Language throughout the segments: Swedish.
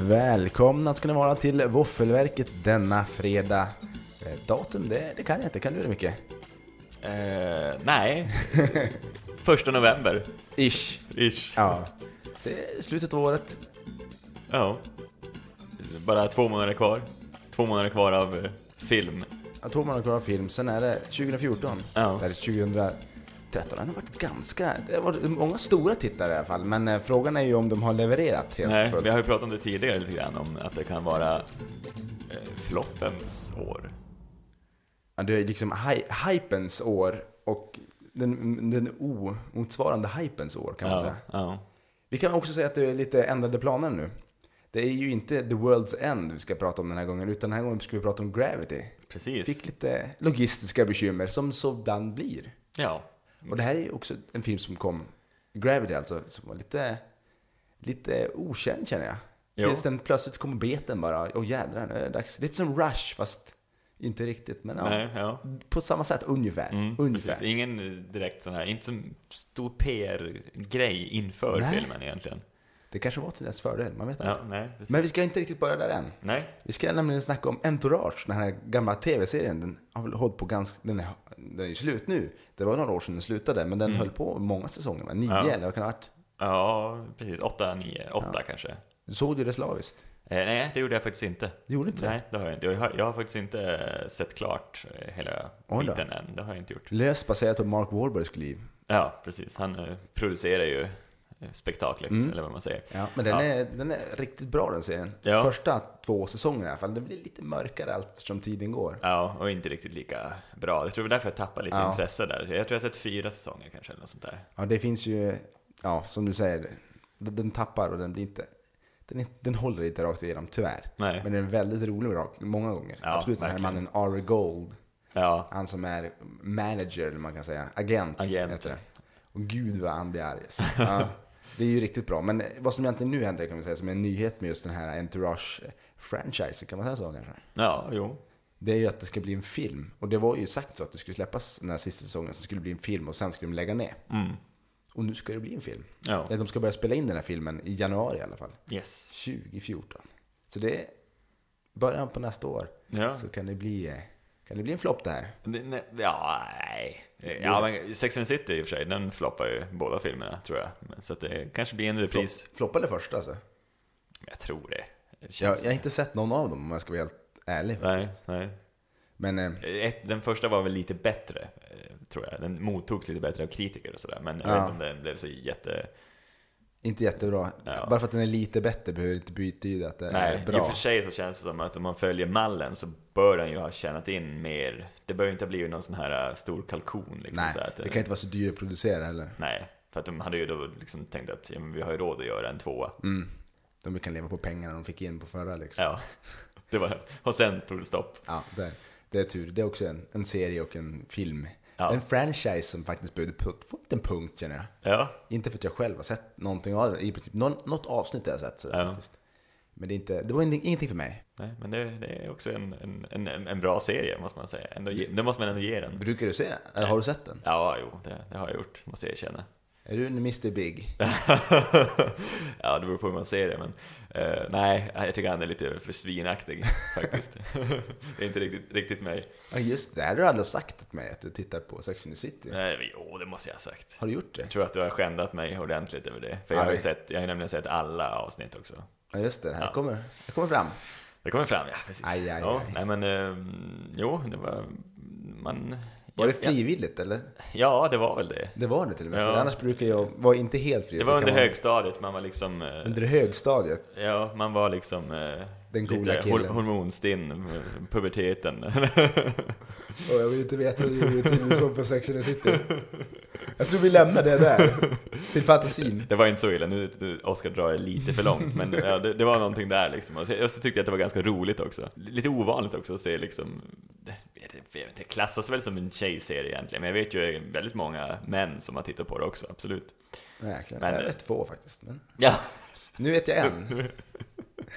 Välkomna ska ni vara till Våffelverket denna fredag. Eh, Datum, det, det kan jag inte. Kan du det mycket? Eh, nej. Första november. Ish. Ish. Ja. Det är slutet av året. Ja. Bara två månader kvar. Två månader kvar av eh, film. Jag tror man har kvar film. Sen är det 2014. Ja. Det är 2013. Det har varit ganska... Det har varit många stora tittare i alla fall. Men eh, frågan är ju om de har levererat helt Nej, fullt. vi har ju pratat om det tidigare lite grann, om att det kan vara eh, floppens år. Ja, det är liksom hy- hypens år och den, den omotsvarande hypens år kan man Ja, säga. ja. Vi kan också säga att det är lite ändrade planer nu. Det är ju inte The World's End vi ska prata om den här gången, utan den här gången ska vi prata om Gravity. Precis. Fick lite logistiska bekymmer, som så ibland blir. Ja. Och det här är ju också en film som kom, Gravity alltså, som var lite, lite okänd känner jag. Jo. Tills den plötsligt kom och bet den bara, åh jädrar nu är det dags. Lite som Rush, fast inte riktigt, men ja. Nej, ja. På samma sätt, ungefär. Mm, ungefär. precis. Ingen eh, direkt sån här, inte så stor PR-grej inför Nej. filmen egentligen. Det kanske var till deras fördel, man vet inte. Ja, nej, precis. Men vi ska inte riktigt börja där än. nej. Vi ska nämligen snacka om Entourage, den här gamla tv-serien. Den har väl hållit på ganska... Den är, den är ju slut nu. Det var några år sedan den slutade, men den höll på många säsonger. va? Nio Mm. Ja. eller vad kan det ha varit? Ja, precis. Åtta, nio, åtta kanske. Du såg ju det slaviskt. Eh, nej, det gjorde jag faktiskt inte. Du gjorde inte Nej, det har jag inte. Jag har, jag har faktiskt inte eh, sett klart eh, hela Oj då. biten än. Det har jag inte gjort. det? Löst baserat på Mark Wahlbergs liv. Ja, precis. Han eh, producerar ju eh, spektaklet, Mm. eller vad man säger. Ja, men den, Ja. är, den är riktigt bra den serien. Ja. Första två säsongerna i alla fall. Det blir lite mörkare allt som tiden går. Ja, och inte riktigt lika bra. Jag tror det var därför jag tappade lite Ja. intresse där. Jag tror jag har sett fyra säsonger kanske, eller något sånt där. Ja, det finns ju... Ja, som du säger. Den den tappar och den blir inte... Den, är- den håller inte rakt igenom, tyvärr. Nej. Men den är väldigt rolig rak, många gånger. Ja, Absolut, den här verkligen. mannen Ari Gold. Ja, Han som är manager, eller man kan säga. Agent, Agent. heter det. Och gud vad han blir arg. alltså. Ja, det är ju riktigt bra. Men vad som egentligen nu händer kan man säga som en nyhet med just den här Entourage-franchisen, kan man säga så kanske? ja, jo. Det är ju att det ska bli en film. Och det var ju sagt så att det skulle släppas den här sista säsongen, så skulle det bli en film och sen skulle de lägga ner. Mm. Och nu ska det bli en film. Ja, De ska börja spela in den här filmen i januari i alla fall. yes. 2014. Så det är början på nästa år. Ja, Så kan det bli, eh, kan det bli en flopp det här. Det- ne- ja nej. Ja, men Sex and the City i och för sig, den floppar ju båda filmerna, tror jag. Men- Så att det kanske blir en repris. Flopp- Floppade första alltså. Jag tror det. det Jag, känns- jag har inte sett någon av dem om jag ska vara helt ärlig. Nej, faktiskt. nej. Men eh, Ett, den första var väl lite bättre, eh, tror jag. Den mottogs lite bättre av kritiker och sådär. Men jag Ja. vet inte om den blev så jätte... inte jättebra. Ja. Bara för att den är lite bättre behöver det inte betyda att den Nej, är i och bra. för sig så känns det som att om man följer mallen så bör den ju ha tjänat in mer. Det bör ju inte ha blivit någon sån här eh, stor kalkon liksom. Nej, så att, det kan inte vara så dyrt att producera heller. Nej, för att de hade ju då liksom tänkt att ja, men vi har ju råd att göra en tvåa. Mm. De kan leva på pengarna de fick in på förra liksom. Ja, det var... Och sen tog det stopp. Ja, det, det är tur. Det är också en, en serie och en film. Ja. En franchise som faktiskt behövde put- få en liten punkt känner jag. Ja, Inte för att jag själv har sett någonting av det. I princip, någon, något avsnitt har jag sett. Så Ja. faktiskt. Men det, är inte, det var in- ingenting för mig. nej, men det, det är också en, en, en, en bra serie, måste man säga. Ändå, ge- det måste man ändå ge den. Brukar du se den? Eller har du sett den? Ja, jo, det, det har jag gjort, måste jag erkänna. Är du en Mr. Big? ja, det beror på hur man ser det, men eh, nej, jag tycker han är lite för svinaktig faktiskt. det är inte riktigt, riktigt mig. Ja, just det. Det har du aldrig sagt till mig att du tittar på Sex and the City. Nej, men jo, det måste jag ha sagt. Har du gjort det? Jag tror att du har skändat mig ordentligt över det, för jag Ja, har ju det- sett, jag har ju nämligen sett alla avsnitt också. Ja, just det. Här Ja. kommer jag kommer fram. Det kommer fram, ja, precis. Aj, aj, ja, aj. Nej, men eh, jo, det var, man... Var det ja, frivilligt eller? ja, det var väl det. Det var det till och med. Ja. För annars brukar jag vara inte helt fri. Det var kan under vara- högstadiet, man var liksom... eh, under högstadiet. Ja, man var liksom... eh, Den lite coola hor- killen. Hormonstinn, eh, puberteten. Och jag vill inte veta hur du gjorde till du såg på Sex and the City. Jag tror vi lämnar det där. Till fantasin. Det var inte så illa, nu nu- Oscar drar det lite för långt, men ja, det, det var någonting där liksom. Och så, och så tyckte jag att det var ganska roligt också. Lite ovanligt också att se liksom, det, jag vet inte, det klassas väl som en tjejserie egentligen, men jag vet ju väldigt många män som har tittat på det också, absolut. Nej, verkligen. Men- jag vet två faktiskt. Men Ja, nu vet jag en.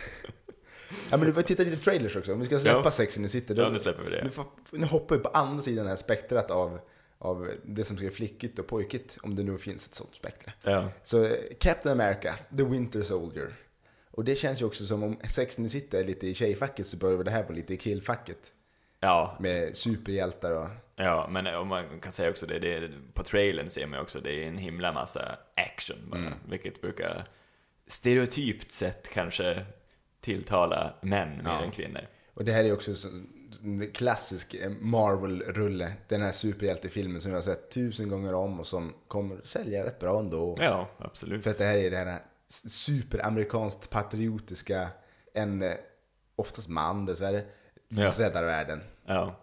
Ja, men du får titta lite trailers också. Om vi ska släppa Ja. Sex and the City. Då, ja nu släpper vi det. Nu, får, nu hoppar vi på andra sidan det här spektrat av, av det som ska vara flickigt och pojkigt, om det nu finns ett sånt spektra. Ja. Så eh, Captain America, The Winter Soldier. Och det känns ju också som om Sex and the City är lite i tjejfacket så börjar det här vara lite i killfacket. Ja, Med superhjältar och... ja, men om man kan säga också det, det är, på trailern ser man ju också det är en himla massa action bara, vilket brukar stereotypt sett kanske tilltala män mer Ja. än kvinnor. Och det här är också så- en klassisk eh, Marvel-rulle. Den här superhjältefilmen som jag har sett tusen gånger om och som kommer sälja rätt bra ändå. Ja, absolut. För att det här är det här superamerikanskt patriotiska, en eh, oftast man dessvärre, Ja. räddar världen. Ja.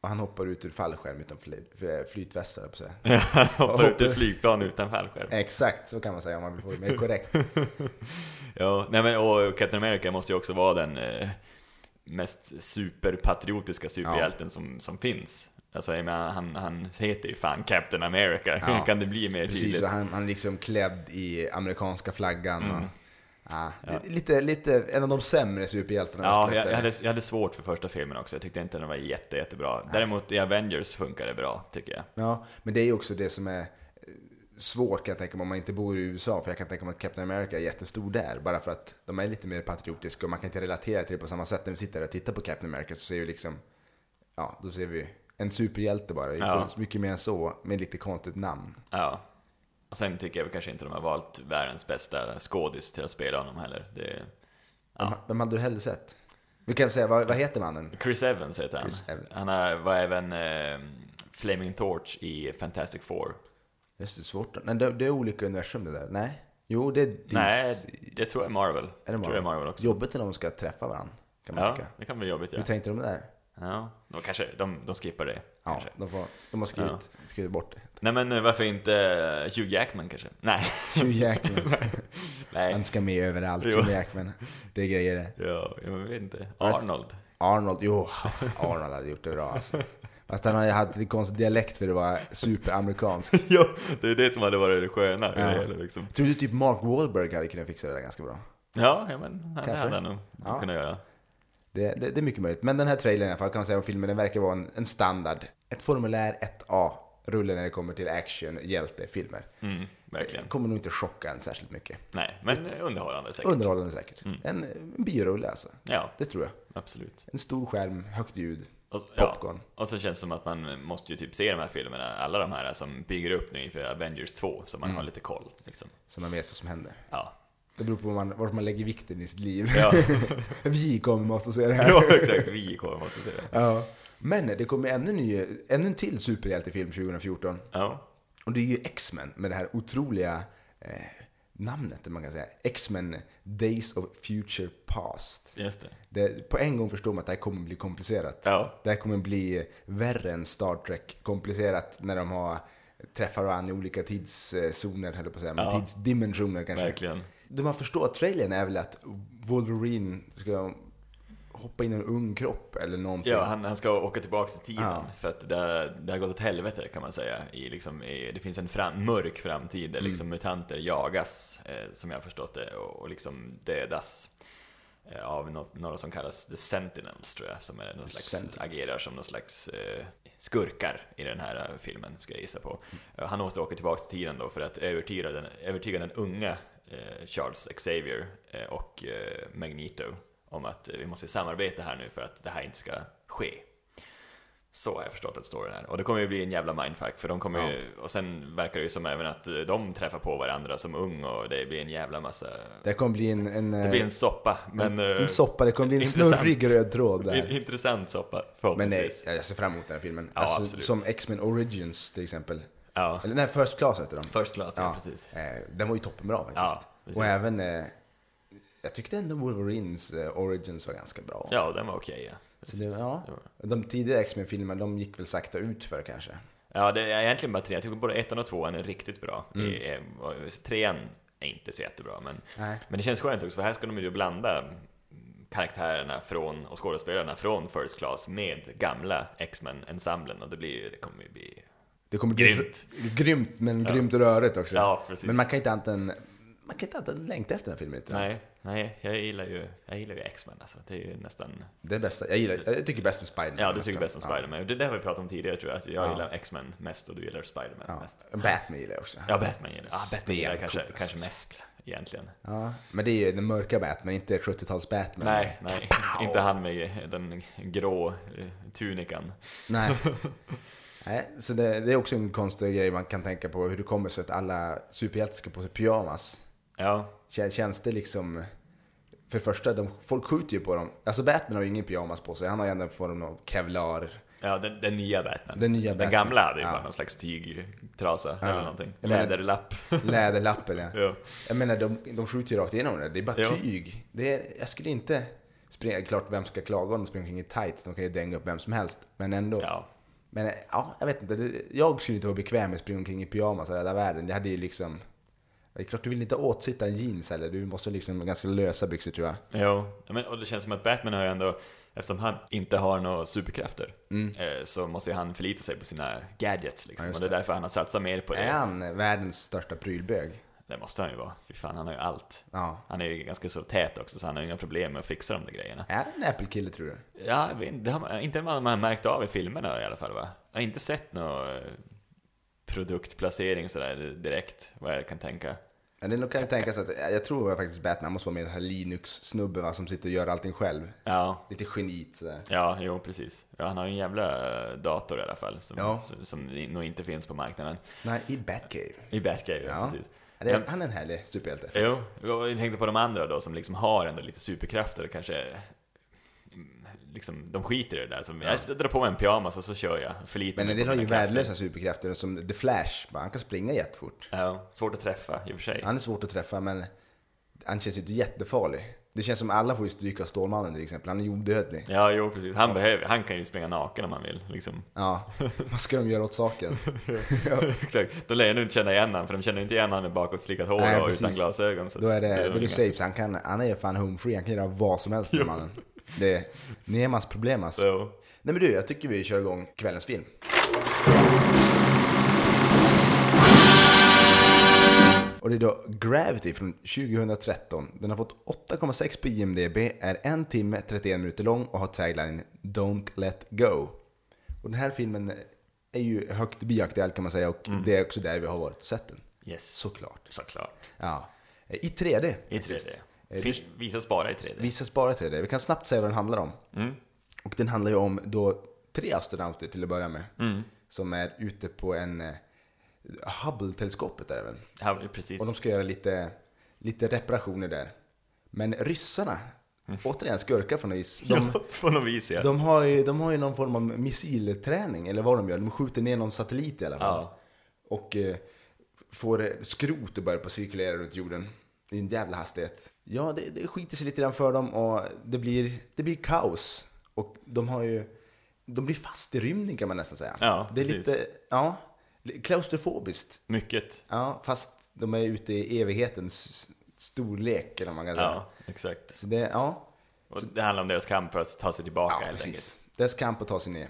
Och han hoppar ut ur fallskärm utan fly- f- flytväst, höll jag på att säga. Hoppar ut ur flygplan utan fallskärm. Exakt, så kan man säga om man vill få det mer korrekt. Ja, nej men och Captain America måste ju också vara den eh, mest superpatriotiska superhjälten som, som finns. Alltså jag menar, han, han heter ju fan Captain America, Ja. kan det bli mer Precis, tydligt? och han, han är liksom klädd i amerikanska flaggan. Mm. Och, ja, det- Lite, lite, en av de sämre superhjältarna. Ja, skulle jag, säga. jag, hade, jag hade svårt för första filmen också, jag tyckte inte den var jätte, jättebra. Däremot i Avengers funkar det bra, tycker jag. ja, men det är ju också det som är eh, svårt kan jag tänka mig om man inte bor i USA. För jag kan tänka mig att Captain America är jättestor där. Bara för att de är lite mer patriotiska och man kan inte relatera till det på samma sätt. När vi sitter där och tittar på Captain America så ser vi liksom, ja, då ser vi en superhjälte bara. Inte Ja. så mycket mer än så, med lite konstigt namn. Ja. Och sen tycker jag väl kanske inte de har valt världens bästa skådis till att spela honom heller. Det, Vem, vem hade du hellre sett? Vi kan väl säga, vad, vad heter mannen? Chris Evans heter han. Chris Evans. Han är, var även eh, Flaming Torch i Fantastic Four. Just det, svårt. Nej, det, det är olika universum det där. Nej. Jo, det är DC. Nej, det tror jag är Marvel. är Är det Tror Marvel? jag är Marvel också. Jobbigt när de ska träffa varandra, kan man Ja, tycka. det kan bli jobbigt ja. Hur tänkte de där? ja. De, kanske, de, de skippar det. Ja, Kanske. de, får, de har skrivit, skrivit bort det. Nej men eh, varför inte eh, Hugh Jackman kanske? Nej. Hugh Jackman. Nej. Han ska med överallt, Jo. Hugh Jackman. Det är grejer det. Ja, jag vet inte. Arnold. Arnold, jo. Arnold hade gjort det bra alltså. Fast han hade haft lite konstig dialekt för det var superamerikansk. ja, det är det som hade varit det sköna. i Ja. Det hela, liksom. Tror du typ Mark Wahlberg hade kunnat fixa det där ganska bra? ja, ja men det Kanske. hade han nog Ja. kunnat göra. Det, det, det är mycket möjligt. Men den här trailern i alla fall kan man säga om filmen, den verkar vara en, en standard. Ett formulär 1A-rulle när det kommer till action, hjältefilmer. Mm, verkligen. Kommer nog inte chocka en särskilt mycket. Nej, men eh, underhållande säkert. Underhållande säkert. Mm. En, en biorulle alltså. Ja, Det tror jag. absolut. En stor skärm, högt ljud, Och, ja, popcorn. Och så känns det som att man måste ju typ se de här filmerna, alla de här som bygger upp nu inför Avengers 2, så man har lite koll. Liksom. Så man vet vad som händer. Ja. Det beror på var man, vart man lägger vikten i sitt liv. Ja. Vi kommer måste se det här. ja, exakt. Vi kommer också se det. Ja. Men det kommer ännu, ny, ännu en till superhjältefilm 2014. Ja, Och det är ju X-Men med det här otroliga eh, namnet, man kan säga. X-Men Days of Future Past. just det. Det, på en gång förstår man att det här kommer bli komplicerat. Ja, Det här kommer bli värre än Star Trek komplicerat när de har träffar varandra i olika tidszoner, höll jag på att säga, men Ja. tidsdimensioner kanske. verkligen. Det man förstår av trailern är väl att Wolverine ska hoppa in i en ung kropp eller någonting. Ja, han, han ska åka tillbaka i tiden, Ja. för att det, har- det har gått åt helvete kan man säga. I, liksom, i, det finns en fram, mörk framtid där liksom, mutanter jagas, eh, som jag har förstått det, och, och liksom dödas eh, av något, några som kallas The Sentinels, tror jag, som är någon slags, Sentinels. agerar som någon slags eh, skurkar i den här eh, filmen, ska jag gissa på. Eh, Han måste åka tillbaka i tiden då för att övertyga den, övertyga den unga eh, Charles Xavier eh, och eh, Magneto om att eh, vi måste samarbeta här nu för att det här inte ska ske. Så har jag förstått att storyn är. Och det kommer ju bli en jävla mindfuck för de kommer ju, och sen verkar det ju som även att eh, de träffar på varandra som ung och det blir en jävla massa, Det kommer bli en, en, det blir en soppa. Men, en, eh, en soppa, det kommer bli en intressant. snurrig röd tråd där. In- Intressant soppa, Men nej, förhoppningsvis. jag ser fram emot den här filmen. Ja, alltså, absolut. som X-Men Origins till exempel. Ja, Eller nej, First Class heter de. first class, ja, Ja. precis. Eh, den var ju toppenbra faktiskt. Ja, precis. och även, eh, jag tyckte ändå Wolverines eh, Origins var ganska bra. Ja, den var okej ja. Så Precis. det, ja. Det var- De tidigare X-Men-filmerna, de gick väl sakta ut för kanske. Ja, det är egentligen bara tre. Jag tycker både ettan och tvåan är riktigt bra. Mm. I, eh, och trean är inte så jättebra, men, Nej. men det känns skönt också, för här ska de ju blanda karaktärerna från, och skådespelarna från First Class med gamla X-Men-ensemblen och det, blir, ju- det kommer ju bli... Det kommer bli Grymt. grymt men grymt rörigt också. Ja, precis. men man kan inte antingen, man kan inte antingen längta efter den här filmen lite. Nej, nej, jag gillar ju, jag gillar ju X-Men alltså. Det är ju nästan... Det är bästa, jag, gillar, jag tycker bäst om Spider-Man. Ja, du tycker bäst om Ja. Spider-Man. Det där har vi pratat om tidigare tror jag, att jag Ja. gillar X-Men mest och du gillar Spider-Man mest. Ja. Batman gillar jag också. Ja, Batman gillar jag. Ja, Batman gillar jag Stencool, kanske, alltså. kanske mest egentligen. Ja, men det är ju den mörka Batman, inte 70-tals Batman. Nej, nej. Inte han med den grå eh, tunikan. Nej. Nej, så det, det är också en konstig grej man kan tänka på. Hur det kommer sig att alla superhjältar ska på sig pyjamas. Ja, Kän- Känns det liksom... För det första, de, folk skjuter ju på dem. Alltså Batman har ju ingen pyjamas på sig. Han har ju ändå en form av kevlar. ja den, den nya Batman. Den nya Batman. Den gamla hade ju Ja. bara någon slags tygtrasa eller någonting. Jag menar- Läderlapp. Läderlappen, ja. Ja. Jag menar, de, de skjuter ju rakt igenom det. Det är bara Ja. tyg. Det är, jag skulle inte... Springa, klart, vem ska klaga om de springer omkring i tights? De kan ju dänga upp vem som helst. Men ändå. ja. Men eh, ja, jag vet inte. Det- Jag skulle inte vara bekväm med att springa omkring i pyjamas i rädda världen. Jag hade ju liksom... Det är klart du vill inte åtsitta en jeans heller. Du måste liksom ha ganska lösa byxor tror jag. Jo, ja, men, och det känns som att Batman har ju ändå, eftersom han inte har några superkrafter, eh, så måste ju han förlita sig på sina gadgets liksom. Mm. Ja, just och det är därför han har satsat mer på det. Är han världens största prylbög? Det måste han ju vara. Fy fan, han har ju allt. Ja. Han är ju ganska så tät också, så han har ju inga problem med att fixa de där grejerna. Är han en Apple-kille tror du? Ja, jag vet inte, det har man, inte man har märkt av i filmerna i alla fall va? Jag har inte sett någon eh, produktplacering sådär direkt, vad jag kan tänka. Ja, det nog kan ju tänkas att, jag tror faktiskt Batman måste vara med den här Linux-snubben va, som sitter och gör allting själv. Ja, Lite geniet sådär. ja, jo precis. Ja, han har ju en jävla eh, dator i alla fall, som, Ja. som, som nog inte finns på marknaden. Nej, i Batcave. I Batcave, ja. Ja. precis. Ja, det är, Men- han är en härlig superhjälte. Jo, jag tänkte på de andra då som liksom har ändå lite superkrafter och kanske mm, Liksom, de skiter i det där. Som, Jag drar på mig en pyjamas och så kör jag. Förlitar Men mig en del på har ju mina krafter. värdelösa superkrafter som The Flash. Va? Han kan springa jättefort. Ja, svårt att träffa i och för sig. Han är svårt att träffa men han känns ju inte jättefarlig. Det känns som alla får ju stryk av Stålmannen till exempel. Han är ju odödlig. Ja, jo precis. Han, behöver, han kan ju springa naken om han vill. Liksom. Ja, vad ska de göra åt saken? Exakt. Då lär jag nog inte känna igen han för de känner inte igen han med bakåtslickat hår Nej, och precis. utan glasögon. Så Då är att det, nog då är det inga- safe. Så han, kan, han är fan home free. Han kan göra vad som helst den mannen. Det är Nemans problem alltså. Så, Nej men du, jag tycker vi kör igång kvällens film. Och det är då Gravity från 2013. Den har fått 8,6 på IMDB, är en timme 31 minuter lång och har taglinen “Don't let go”. Och den här filmen är ju högt bioaktuell kan man säga och det är också där vi har varit och sett den. yes. Såklart. Såklart. Ja. I 3D. I 3D. Eh, Finns, visas bara i 3D. Vi ska spara 3D. Vi kan snabbt säga vad den handlar om. Och den handlar ju om då tre astronauter till att börja med. Som är ute på en eh, Hubble-teleskopet där även. Ja, precis. Och de ska göra lite, lite reparationer där. Men ryssarna, återigen skurkar på något vis. De, Ja, på något vis ja. de, har ju, de har ju någon form av missilträning eller vad de gör. De skjuter ner någon satellit i alla fall. Ja. Och eh, får skrot att börja på cirkulera runt jorden. I en jävla hastighet. Ja, det, det skiter sig lite grann för dem och det blir, det blir kaos. Och de har ju... De blir fast i rymden kan man nästan säga. Ja, det är precis. lite... Ja, li- klaustrofobiskt. Mycket. Ja, fast de är ute i evighetens s- storlek eller vad man kan säga. Ja, exakt. Så det, ja. Och det handlar om deras kamp för att ta sig tillbaka Ja, helt enkelt. Mm. precis. Dess kamp att ta sig ner.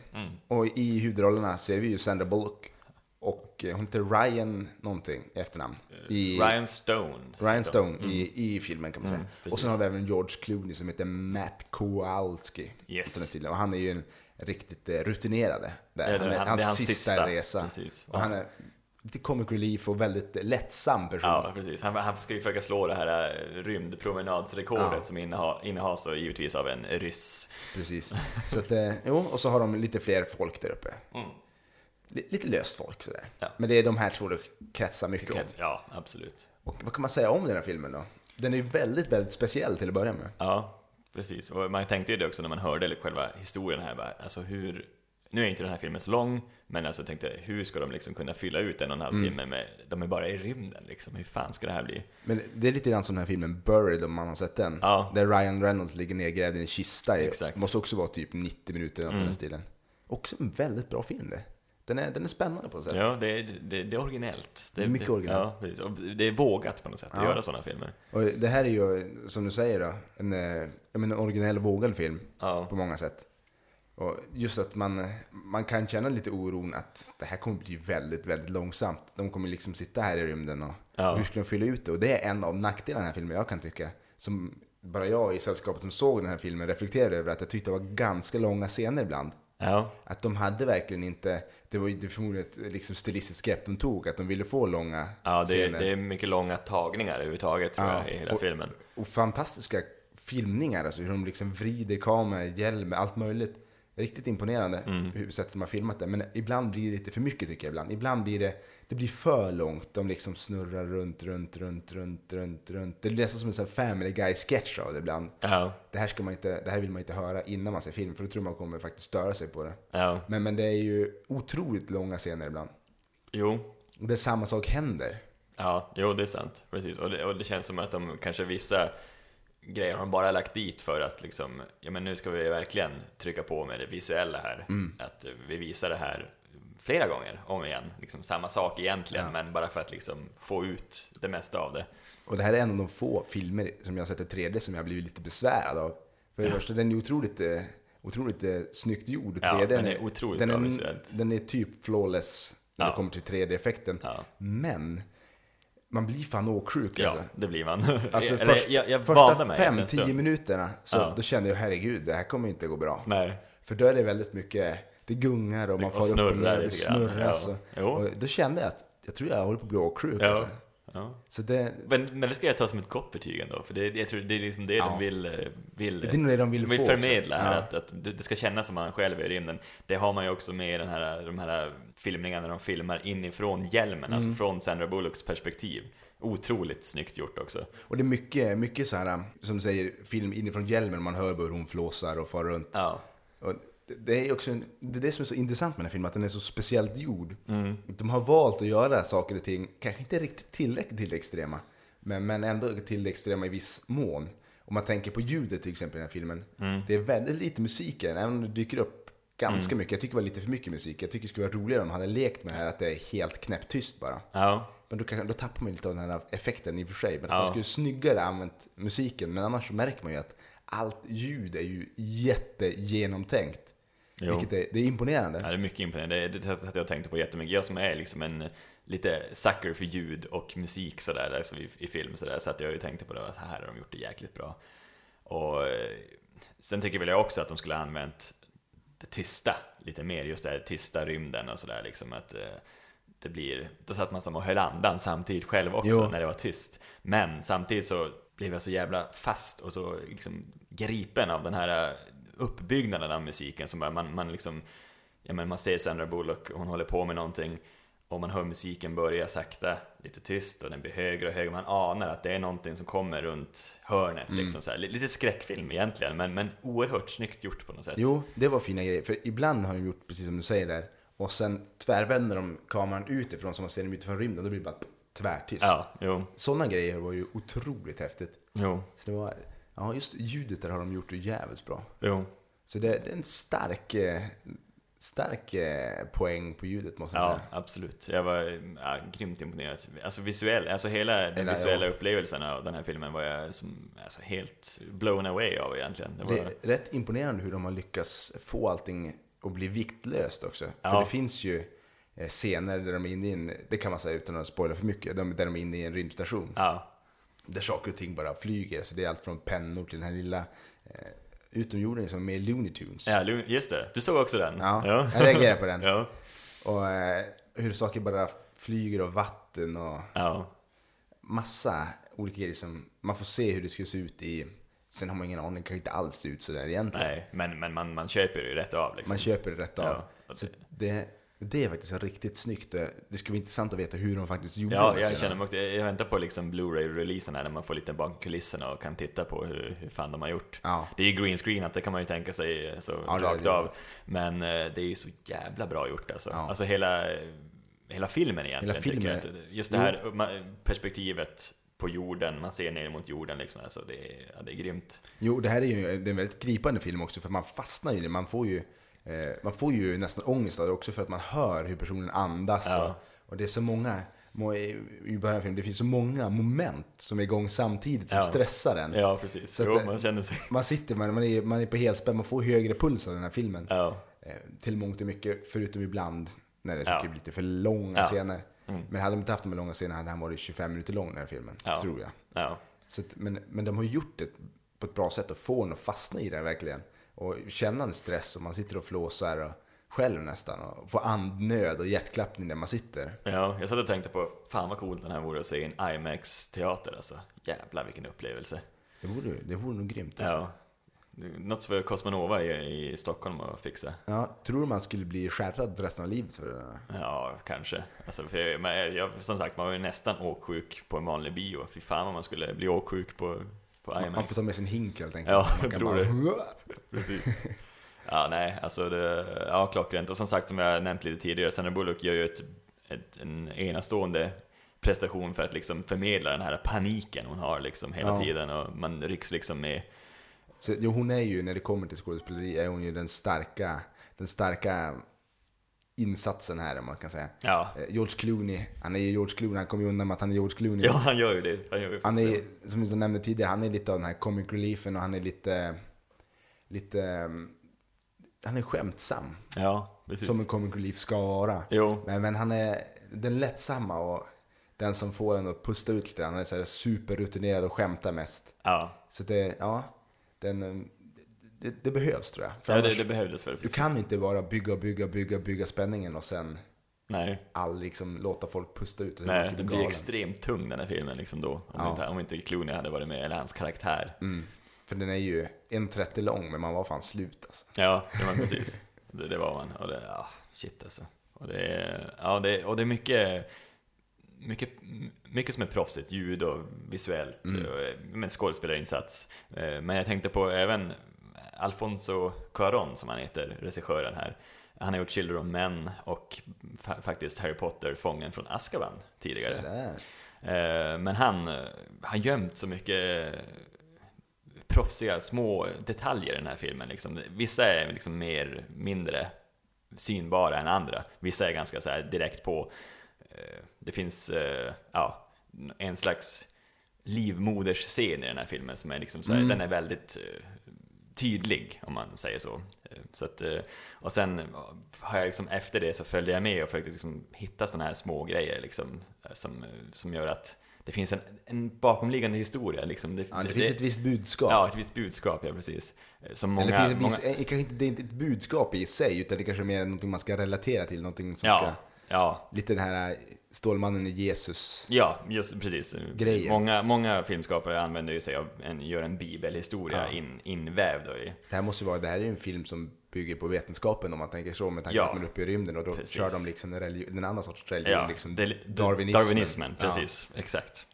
Och i huvudrollerna ser vi ju Sandra Bullock och eh, hon heter Ryan någonting i efternamn. I, Eh, Ryan Mm. Stone. så Ryan heter Stone i, i filmen kan man säga. och sen har vi även George Clooney som heter Matt Kowalski. Yes. Utan den stilen. Och han är ju en riktigt eh, rutinerade. Där. Det är det, han- det är hans sista. resa. Precis. Och han är lite comic relief och väldigt lättsam person. Ja, precis. Han, han ska ju försöka slå det här eh, rymdpromenadsrekordet som inneha, innehas då givetvis av en ryss. Precis. Så att, eh, jo, och så har de lite fler folk där uppe. Li- Lite löst folk sådär. Mm. Ja. Men det är de här två du kretsar mycket om. Ja, absolut. Och vad kan man säga om den här filmen då? Den är ju väldigt, väldigt speciell till att börja med. Ja, precis. Och man tänkte ju det också när man hörde lite själva historien här. Bara, alltså hur... Nu är inte den här filmen så lång, men alltså jag tänkte hur ska de liksom kunna fylla ut en och en halv Mm. timme med... De är bara i rymden liksom, hur fan ska det här bli? Men det är lite grann som den här filmen Buried om man har sett den. Ja. Där Ryan Reynolds ligger nedgrävd i en kista. i- Exakt. Mm. Måste också vara typ 90 minuter eller något i den stilen. Också en väldigt bra film det. Den är, den är spännande på något sätt. Ja, det är, det, det är originellt. Det är mycket originellt. Ja, precis. Och det är vågat på något sätt att göra sådana filmer. Och det här är ju, som du säger då, en, eh, jag menar, en originell vågad film Ja. på många sätt. Och just att man, man kan känna lite oron att det här kommer bli väldigt, väldigt långsamt. De kommer liksom sitta här i rymden och Ja. hur ska de fylla ut det? Och det är en av nackdelarna i den här filmen jag kan tycka. Som bara jag i sällskapet som såg den här filmen reflekterade över att jag tyckte det var ganska långa scener ibland. Ja. Att de hade verkligen inte, det var ju förmodligen ett liksom stilistiskt grepp de tog, att de ville få långa Ja, det, är- scener. det är mycket långa tagningar överhuvudtaget tror Ja, jag i hela och- filmen. Och fantastiska filmningar, alltså hur de liksom vrider kameror, hjälm, allt möjligt. Riktigt imponerande hur sättet de har filmat det. Men ibland blir det lite för mycket tycker jag. Ibland, ibland blir det, det blir för långt. De liksom snurrar runt, runt, runt, runt, runt, runt. Det är nästan som en sån här Family Guy-sketch av det ibland. Ja, Det här, ska man inte, det här vill man inte höra innan man ser film, för då tror man kommer faktiskt störa sig på det. ja. Men, men det är ju otroligt långa scener ibland. Jo, Och det samma sak händer. Ja, jo det är sant. Precis. Och det, och det känns som att de kanske vissa grejer har de bara lagt dit för att liksom, ja men nu ska vi verkligen trycka på med det visuella här. Mm. Att eh, vi visar det här flera gånger om igen. Liksom samma sak egentligen, men bara för att liksom få ut det mesta av det. Och det här är en av de få filmer som jag har sett i 3D som jag blivit lite besvärad av. För det första, den är otroligt, eh, otroligt eh, snyggt gjord. Ja, 3D, den är otroligt den bra är, visuellt. Den är typ flawless när Ja. det kommer till 3D-effekten. Ja. Men man blir fan åksjuk Ja, alltså. det blir man. Alltså Eller, först, jag, jag vande första mig efter en 5-10 stund. minuterna så Ja. då kände jag herregud, det här kommer inte gå bra. Nej. För då är det väldigt mycket, det gungar och man och får upp och snurrar ner, det lite grann, ja. snurras. och- Jo. Och då kände jag att jag tror jag håller på att bli åksjuk. Ja. Alltså. Ja. Så det, Men, men det ska jag ta som ett gott betyg ändå, för det, jag tror det är liksom det Ja. de vill, eh, vill, Det är nog det de vill få förmedla. också. Här, Ja. att, att det det ska kännas som man själv är i rymden. Det har man ju också med i den här, de här filmningarna när de filmar inifrån hjälmen, alltså Mm. från Sandra Bullocks perspektiv. Otroligt snyggt gjort också. Och det är mycket, mycket så här, um, som du säger, film inifrån hjälmen, man hör hur hon flåsar och far runt. Ja, Och det- det är också en, det, är det som är så intressant med den här filmen, att den är så speciellt gjord. Mm. De har valt att göra saker och ting, kanske inte riktigt tillräckligt till det extrema, men, men ändå till det extrema i viss mån. Om man tänker på ljudet till exempel i den här filmen, Mm. det är väldigt lite musik i den, även om det dyker upp ganska mycket. Jag tycker det var lite för mycket musik. Jag tycker det skulle vara roligare om man hade lekt med det här att det är helt knäpptyst bara. ja, Men då, kan, då tappar man lite av den här effekten i och för sig. Men Ja. man skulle snyggare använt musiken. Men annars så märker man ju att allt ljud är ju jättegenomtänkt. Jo. Vilket är, det är imponerande. ja det är mycket imponerande. Det, det, det, jag tänkte på jättemycket. Jag som är liksom en lite sucker för ljud och musik sådär, alltså i, i film sådär, så att jag ju tänkte på det, att här har de gjort det jäkligt bra. Och eh, sen tycker väl jag också att de skulle ha använt det tysta lite mer, just det här tysta rymden och sådär liksom att eh, det blir, då satt man som och höll andan samtidigt själv också Jo. när det var tyst. Men samtidigt så blev jag så jävla fast och så liksom gripen av den här eh, uppbyggnaden av musiken som bara man, man liksom, ja men man ser Sandra Bullock, hon håller på med någonting och man hör musiken börja sakta, lite tyst och den blir högre och högre. Man anar att det är någonting som kommer runt hörnet. Liksom så här. Li- Lite skräckfilm egentligen, men, men oerhört snyggt gjort på något sätt. Jo, det var fina grejer. För ibland har de gjort precis som du säger där. Och sen tvärvänder de kameran utifrån så man ser dem utifrån rymden. Då blir det bara tvärtyst. Ja, jo. Sådana grejer var ju otroligt häftigt. Jo, Så det var, ja just ljudet där har de gjort det jävligt bra. jo. Så det, det är en stark, eh, stark eh, poäng på ljudet måste jag Ja, säga. absolut. Jag var ja, grymt imponerad. Alltså visuell, alltså hela den Hela, visuella upplevelsen av den här filmen var jag som, alltså, helt blown away av egentligen. Det var, Det är rätt imponerande hur de har lyckats få allting att bli viktlöst också. För Ja. det finns ju eh, scener där de är inne i en, det kan man säga utan att spoila för mycket, de- där de är inne i en rymdstation. Ja, Där saker och ting bara flyger. Så det är allt från pennor till den här lilla eh, utomjordingen som är med i Looney Tunes. ja, Lu- just det. Du såg också den? Ja, jag reagerar på den. Ja. Och eh, hur saker bara flyger och vatten och ja. massa olika grejer som man får se hur det skulle se ut i. Sen har man ingen aning, det kanske inte alls se ut sådär egentligen. Nej, men, men man, man köper ju rätt av liksom. Man köper det rätt av. Ja. Så det, det är faktiskt riktigt snyggt. Det skulle vara intressant att veta hur de faktiskt gjorde de Ja, här jag scenerna. känner mig också, jag jag väntar på liksom Blu-ray-releasen här när man får lite bakom kulisserna och kan titta på hur, hur fan de har gjort. Ja. Det är ju green screen att det kan man ju tänka sig eh, så Ja, det är rakt det. av. Men eh, det är ju så jävla bra gjort alltså. Ja. Alltså hela, eh, hela filmen egentligen. Hela filmen tycker jag. Att Just det här ma- perspektivet på jorden, man ser ner mot jorden liksom. Alltså det, är, ja, det är grymt. Jo, det här är ju det är en väldigt gripande film också för man fastnar i det. Man får ju, eh, man får ju nästan ångest av det också för att man hör hur personen andas. Ja. Och, och det är så många, må- i i början av filmen, det finns så många moment som är igång samtidigt som Ja. stressar en. Ja, precis. Mm. Så att jo, det- man känner sig... Man sitter, man, man, är, man är på helspänn, man får högre puls av den här filmen. Ja. Eh, till mångt och mycket, förutom ibland när det Ja. blir lite för långa Ja. Mm. scener. Men hade de inte haft de här långa scenerna hade han varit 25 minuter lång den här filmen, Ja. tror jag. Ja. Så att, men, men de har ju gjort det på ett bra sätt och få en att fastna i den verkligen. och känna en stress och man sitter och flåsar och själv nästan och får andnöd och hjärtklappning där man sitter. Ja, jag satt och tänkte på, fan vad coolt den här vore att se i en IMAX-teater alltså. Jävlar vilken upplevelse. Det vore, det vore nog grymt. Alltså. Ja. Något för Cosmonova i, i Stockholm att fixa. Ja, tror du man skulle bli skärrad resten av livet för det där? Ja, kanske. Alltså, för jag, men jag, som sagt, man var ju nästan åksjuk på en vanlig bio. Fy fan vad man skulle bli åksjuk på, på Man IMAX. får ta med sin hink helt enkelt. Ja, Man jag kan tror bara- Precis. Ja, nej, alltså det, ja, klockrent. Och som sagt, som jag nämnt lite tidigare, Sandra Bullock gör ju ett, ett, en enastående prestation för att liksom förmedla den här paniken hon har liksom hela Ja. tiden och man rycks liksom med. Så, jo, hon är ju, när det kommer till skådespeleri, är hon ju den starka, den starka insatsen här, om man kan säga. Ja, Eh, George Clooney, han är ju George Clooney, han kommer ju undan med att han är George Clooney. ja han gör ju det. Han gör ju Han är, faktiskt som jag nämnde tidigare, han är lite av den här comic reliefen och han är lite, lite, mm, han är skämtsam. det. Ja, precis. Som en comic relief ska vara. Jo, Men, men han är den lättsamma och den som får en att pusta ut lite. Han är så här superrutinerad och skämtar mest. ja. Så det, ja, den, mm, det, det behövs tror jag. För ja det, annars- det behövdes väl. Du kan inte bara bygga, bygga, bygga, bygga spänningen och sen Nej, all, liksom, låta folk pusta ut. Och nej, blir den blir galen. extremt tung den här filmen liksom då. Om, Ja. inte, om inte Clooney hade varit med, eller hans karaktär. Mm. För den är ju 1.30 lång, men man var fan slut alltså. Ja, det var precis. Det, det var man. Och det, ja, shit alltså. Och det, är- ja, det, och det är mycket, mycket, mycket som är proffsigt. Ljud och visuellt, Mm. och, men skådespelarinsats. Eh, Men jag tänkte på även Alfonso Cuarón, som han heter, regissören här. Han har gjort Children of Men och fa- faktiskt Harry Potter, Fången från Azkaban tidigare. Så där. Eh, Men han eh, har gömt så mycket eh, proffsiga små detaljer i den här filmen. Liksom. Vissa är liksom mer, mindre synbara än andra. Vissa är ganska så här direkt på. Eh, Det finns eh, ja, en slags livmodersscen i den här filmen som är liksom så här, Mm. den är väldigt eh, tydlig om man säger så. Eh, så att, eh, och sen ja, har jag liksom efter det så följde jag med och försökte liksom hitta sådana här små grejer liksom, eh, som, eh, som gör att det finns en, en bakomliggande historia. Liksom. Ja, det, finns ett visst budskap. Ja, ett visst budskap, ja precis. Eh, Som många, Eller finns det, många, finns, eh, kanske inte, det är inte ett budskap i sig, utan det kanske är mer någonting man ska relatera till. Någonting som ja, ska, ja, lite den här eh, Stålmannen i Jesus. ja, just precis. Grejer. Många, många filmskapare använder ju sig av, en, gör en bibelhistoria Ja. in, invävd då i. Det här måste ju vara, det här är ju en film som bygger på vetenskapen om man tänker så, med tanke Ja. på att man är uppe i rymden och då Precis. kör de liksom en, religion, en annan sorts religion, Ja, liksom det- darwinismen. darwinismen, Ja. precis, exakt.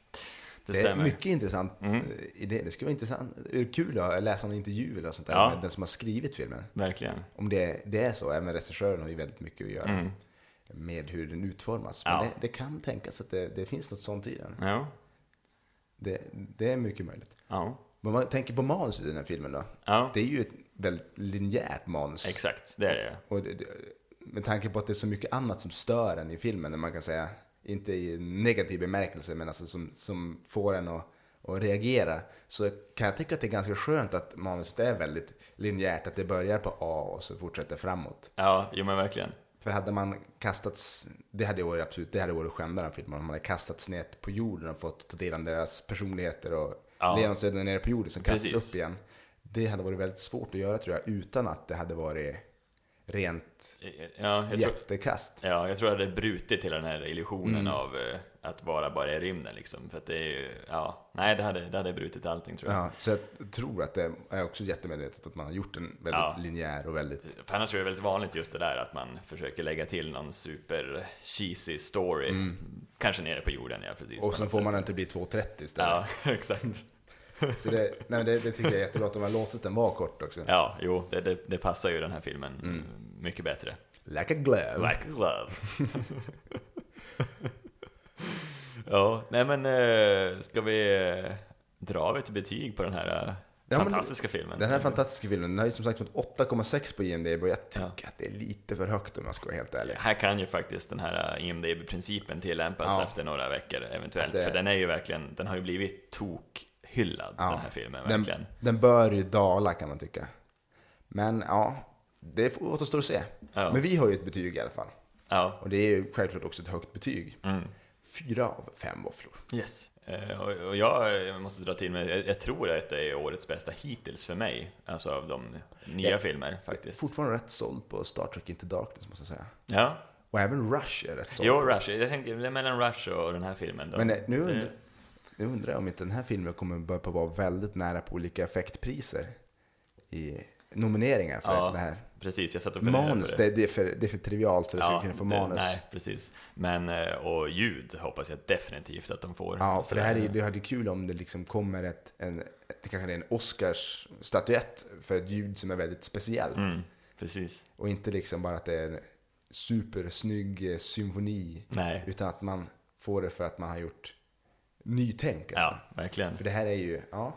Det, Det, är stämmer. Mhm. mycket intressant eh, i det. Det skulle vara intressant. Det är kul att läsa en intervju eller sånt där Ja. med den som har skrivit filmen. Verkligen. Om det, det är så, även regissören har ju väldigt mycket att göra Mm. med hur den utformas. Men Ja. det, det kan tänkas att det, det finns något sånt i den. Ja. Det, det är mycket möjligt. Ja. Men om man tänker på manuset i den här filmen då. ja. Det är ju ett väldigt linjärt manus. Exakt, det är det. Och det, det, med tanke på att det är så mycket annat som stör en i filmen, när man kan säga, inte i negativ bemärkelse, men alltså som, som får en att, att reagera, så kan jag tycka att det är ganska skönt att manuset är väldigt linjärt, att det börjar på A och så fortsätter framåt. Ja, jo men verkligen. För hade man kastats, det hade varit absolut, det hade varit skändare än filmen, om man hade kastats ner på jorden och fått ta del av deras personligheter och Ja. levnadsöden nere på jorden som kastas Precis. upp igen. Det hade varit väldigt svårt att göra tror jag, utan att det hade varit rent Eh, Ja, jag tror, jättekast. ja, jag tror att det är brutit hela den här illusionen Mm. av eh, att vara bara i rymden liksom. För att det är ju, ja, nej det hade, det hade brutit allting tror jag. Ja, så jag tror att det är också jättemedvetet att man har gjort en väldigt Ja. linjär och väldigt... För annars är det väldigt vanligt just det där att man försöker lägga till någon super cheesy story. Kanske nere på jorden, ja precis. Mm. Och på så något får sätt. man inte bli 2.30 istället. Ja, exakt. Så det, nej, men det, det tycker jag är jättebra att de har låtit den vara kort också. Ja, jo, det, det, det passar ju den här filmen mm, mycket bättre. Like a glove. Like love. ja, nej men eh, ska vi eh, dra ett betyg på den här eh, men fantastiska filmen? Den här fantastiska filmen, den har ju som sagt fått 8,6 på IMDB och jag tycker att det är lite för högt om jag ska vara helt ärlig. Här kan ju faktiskt den här eh, IMDB-principen tillämpas Ja. efter några veckor eventuellt. Det- För den är ju verkligen, den har ju blivit tokhyllad Ja. den här filmen, Den, verkligen. den bör ju dala kan man tycka. Men ja, det får- återstår att se. Ja. Men vi har ju ett betyg i alla fall. Ja. Och det är ju självklart också ett högt betyg. Mm. Fyra av fem våfflor. Yes. Eh, Och och jag jag måste dra till med, jag- jag tror att det är årets bästa hittills för mig, alltså av de nya Ja. filmer faktiskt. Fortfarande rätt såld på Star Trek Into Darkness måste jag säga. Ja, Och även Rush är rätt såld. jo Rush, jag tänkte det är mellan Rush och den här filmen då. Men eh, nu Det- undrar, nu undrar jag om inte den här filmen kommer börja på att vara väldigt nära på olika effektpriser i nomineringar för Ja, det här. Precis, jag satt och funderade på Manus, det, det, är för, det är för trivialt för att ja, kunna få det- manus. Nej, precis. Men, eh, och ljud hoppas jag definitivt att de får. Ja, Så för det här är, det hade kul om det liksom kommer ett, en, det kanske är en Oscarsstatyett för ett ljud som är väldigt speciellt. Mm, precis. Och inte liksom bara att det är en supersnygg eh, symfoni, Nej, utan att man får det för att man har gjort nytänk. Alltså. ja, verkligen. För det här är ju, ja,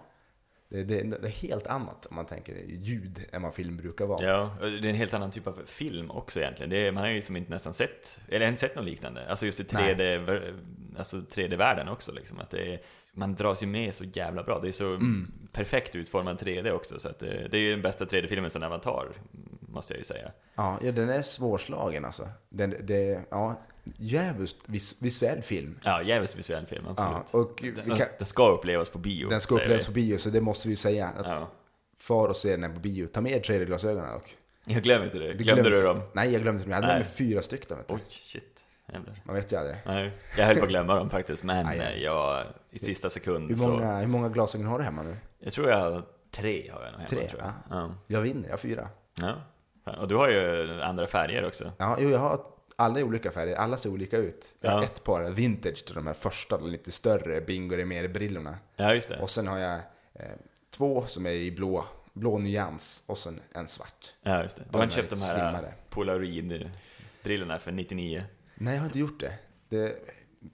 det, det, det är helt annat om man tänker ljud än vad film brukar vara. Ja, och det är en helt annan typ av film också egentligen. Det är, man har ju liksom inte nästan sett, eller jag har inte sett något liknande. Alltså just i 3D, ver- alltså 3D-världen också liksom. Att det är, man dras ju med så jävla bra. Det är så Mm. perfekt utformad 3D också. Så att det, det är ju den bästa 3D-filmen sedan Avatar, måste jag ju säga. Ja, ja den är svårslagen alltså. Den, det, ja, djävulskt vis, visuell film. Ja, jävligt visuell film, Ja, absolut. och vi den, kan, den ska upplevas på bio, den ska säger upplevas på vi. bio, så det måste vi ju säga. Att Ja. Far och se den här på bio. Ta med er 3D-glasögonen dock. Jag glömmer inte det. Det Glömde du glömde- dem? Nej, jag glömde inte. Jag hade Nej. med mig fyra stycken. Vet du. Oj, shit. Jävlar. Man vet ju aldrig. Nej, jag höll på att glömma dem faktiskt, men Aj, aj. eh, jag, i sista sekund Hur så... många, hur många glasögon har du hemma nu? Jag tror jag har tre har jag nog hemma. Tre, tror jag. Ja. Jag vinner, jag har fyra. ja. Fan, Och du har ju andra färger också. Ja, jo, jag har alla i olika färger. Alla ser olika ut. Jag har Ja. ett par vintage till de här första, de lite större Bingo Remer-brillorna. Ja, just det. Och sen har jag eh, två som är i blå, blå nyans och sen en svart. Ja, just det. Du De är har inte köpt de lite här slimmare. Polaroid-brillorna för 99? Nej, jag har inte gjort det. Det,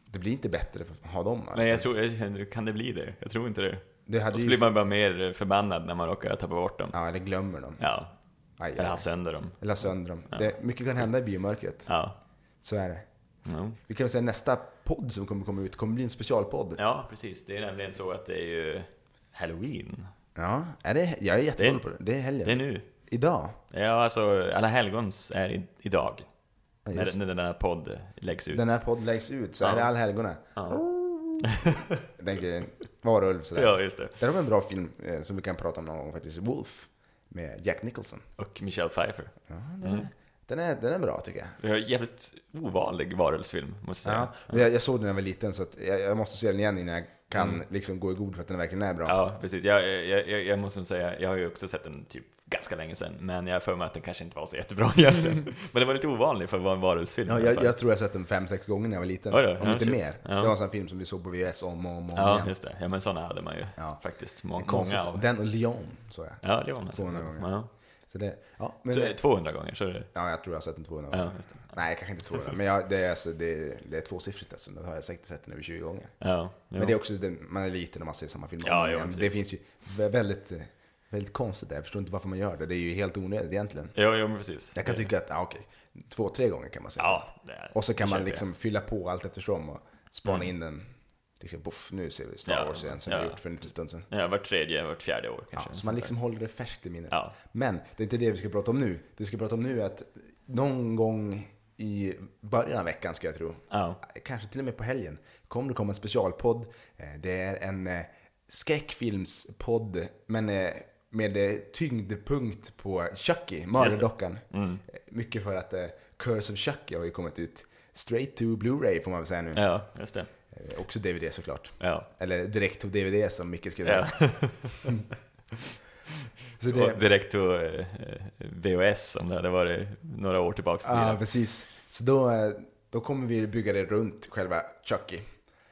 det blir inte bättre för att ha dem. va? Nej, jag tror... jag- Kan det bli det? Jag tror inte det. det hade Och så ju, blir man bara mer förbannad när man råkar tappa bort dem. Ja, eller glömmer dem. Ja. Aj, Eller aj. ha sönder dem. Eller sönder dem. Det, mycket kan hända i biomörkret. Ja. Så är det. Ja. Vi kan väl säga nästa podd som kommer komma ut kommer bli en specialpodd. ja, precis. Det är nämligen så att det är ju Halloween. Ja, är det, jag är jättedålig på Det- det. Det är helgen. Det är nu. Idag. Ja, alltså Alla helgons är i, idag. Ja, när, just. när den här podd läggs ut. Den här podden läggs ut så Ja. är det allhelgona. Ja. Jag tänker varulv sådär. ja, just det. Där har vi en bra film eh, som vi kan prata om någon gång faktiskt. Wolf med Jack Nicholson. Och Michelle Pfeiffer. Ja, den, Mm. är, den, är, den är bra tycker jag. Vi har en jävligt ovanlig varulvsfilm, måste jag Ja, säga. men jag, jag såg den när jag var liten så att jag, jag måste se den igen innan jag kan liksom gå i god för att den verkligen är bra. Mm. Ja, precis. Jag, jag, jag, jag måste nog säga, jag har ju också sett den typ ganska länge sedan, men jag har för mig att den kanske inte var så jättebra egentligen. men den var lite ovanlig för att vara en varulvsfilm. Ja, i alla jag, fall. jag tror jag sett den fem, sex gånger när jag var liten. Oj då, om ja, inte shit. mer. Ja. Det var en sån film som vi såg på VHS om och om, och om ja, igen. just det. Ja, men sådana hade man ju Ja. faktiskt. Det Må, är konstigt. många av. Den och Leon såg jag. Ja, det var man. 200 gånger. Ja. Så det, ja, men, Så, 200 gånger, så är det. ja, jag tror jag har sett den 200 gånger. Ja, just det. Nej, kanske inte 200. men jag, det, är, alltså, det, det är tvåsiffrigt alltså. Det har jag säkert sett den över 20 gånger. Ja, jo. Men det är också, det, man är liten och man ser samma film. om Ja, och om jo, igen. det precis. finns ju vä- väldigt, eh, väldigt konstigt där. Jag förstår inte varför man gör det. Det är ju helt onödigt egentligen. Jo, jo, men precis. Jag kan tycka att, ah, okej, två, tre gånger kan man säga. Ja, det är, Och så det kan man köper jag. Mm. liksom fylla på allt eftersom och spana in den. Liksom, boff, nu ser vi Star Ja, Wars igen som ja. vi gjort för en liten stund sedan. Ja, vart tredje, vart fjärde år kanske. Ja, Sånt så man där. liksom håller det färskt i minnet. Ja. Men det är inte det vi ska prata om nu. Det vi ska prata om nu är att någon gång i början av veckan ska jag tro, Ja. kanske till och med på helgen, kommer det komma en specialpodd. Eh, Det är en eh, skräckfilmspodd, men eh, med eh, tyngdpunkt på Chucky, mördardockan. Mm. Eh, Mycket för att eh, Curse of Chucky har ju kommit ut. Straight to Blu-ray får man väl säga nu. ja, just det. Eh, Också DVD såklart. Ja. Eller direkt to DVD som Micke skulle säga. Ja. Så Och direkt till eh, eh, VHS om det hade varit några år tillbaka i Ja, tiden. precis. Så då, eh, då kommer vi bygga det runt själva Chucky.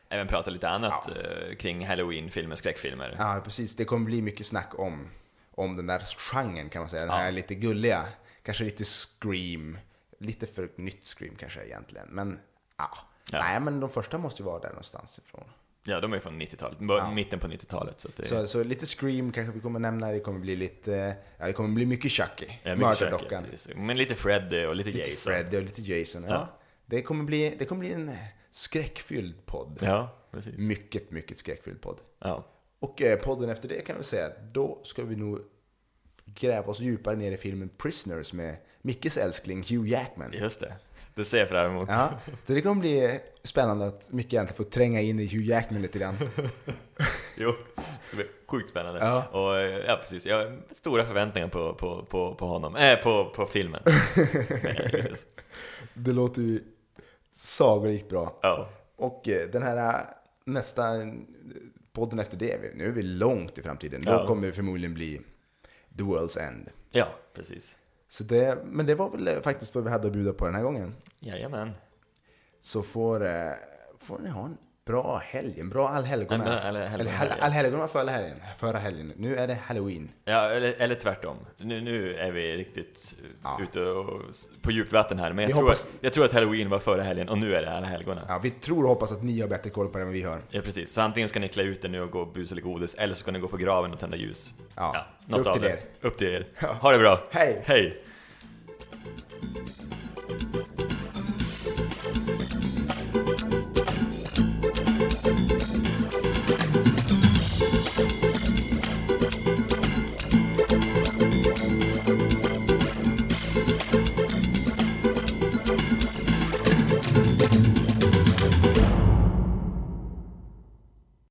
Även prata lite annat eh, kring halloween-filmer, skräckfilmer. Ja, precis. Det kommer bli mycket snack om, om den där genren kan man säga. Den här lite gulliga, kanske lite scream. Lite för nytt scream kanske egentligen. Men ja. Ja. Nej, men de första måste ju vara där någonstans ifrån. Ja, de är från 90-talet, mitten på 90-talet. Så att det, Så, så lite scream kanske vi kommer nämna. Det kommer bli lite, ja det kommer bli mycket Chucky. Ja, mycket Mördardockan. käkigt, precis. Men lite Freddy och lite, Lite Jason. Freddy och lite Jason. Ja. Ja. Det, kommer bli, det kommer bli en skräckfylld podd. Ja, precis. Mycket, mycket skräckfylld podd. Ja. Och eh, podden efter det kan vi säga, då ska vi nog gräva oss djupare ner i filmen Prisoners med Mickes älskling Hugh Jackman. Just det. Det ser jag fram emot. Ja, så det kommer bli spännande att mycket egentligen få tränga in i Hugh Jackman lite grann. Jo, det ska bli sjukt spännande. Ja. Och eh, ja, precis. Jag har stora förväntningar på, på, på, på honom. Eh, på, på filmen. Men, eh, Det låter ju sagolikt bra. ja. Och eh, den här eh, nästa eh, podden efter det, vi- nu är vi långt i framtiden. Då Ja. kommer det förmodligen bli The World's End. ja, precis. Så det, men det var väl eh, faktiskt vad vi hade att bjuda på den här gången. Jajamän. Så får, eh, får ni ha en bra helg, en bra allhelgona. En bra alle- Eller helgona- hall- allhelgona var förra helgen, förra helgen. Nu är det halloween. Ja, eller, eller tvärtom. Nu, nu är vi riktigt eh, Ja. ute och, s- på djupt vatten här. Men Vi jag tror, hoppas- att, jag tror att halloween var förra helgen och nu är det alla helgona. Ja. Ja, vi tror och hoppas att ni har bättre koll på det än vad vi har. precis. Så antingen ska ni klä ut er nu och gå och bus eller godis, eller så ska ni gå på graven och tända ljus. Ja. något Upp av till det. er. Upp till er. Ha det bra. Hej. Hej.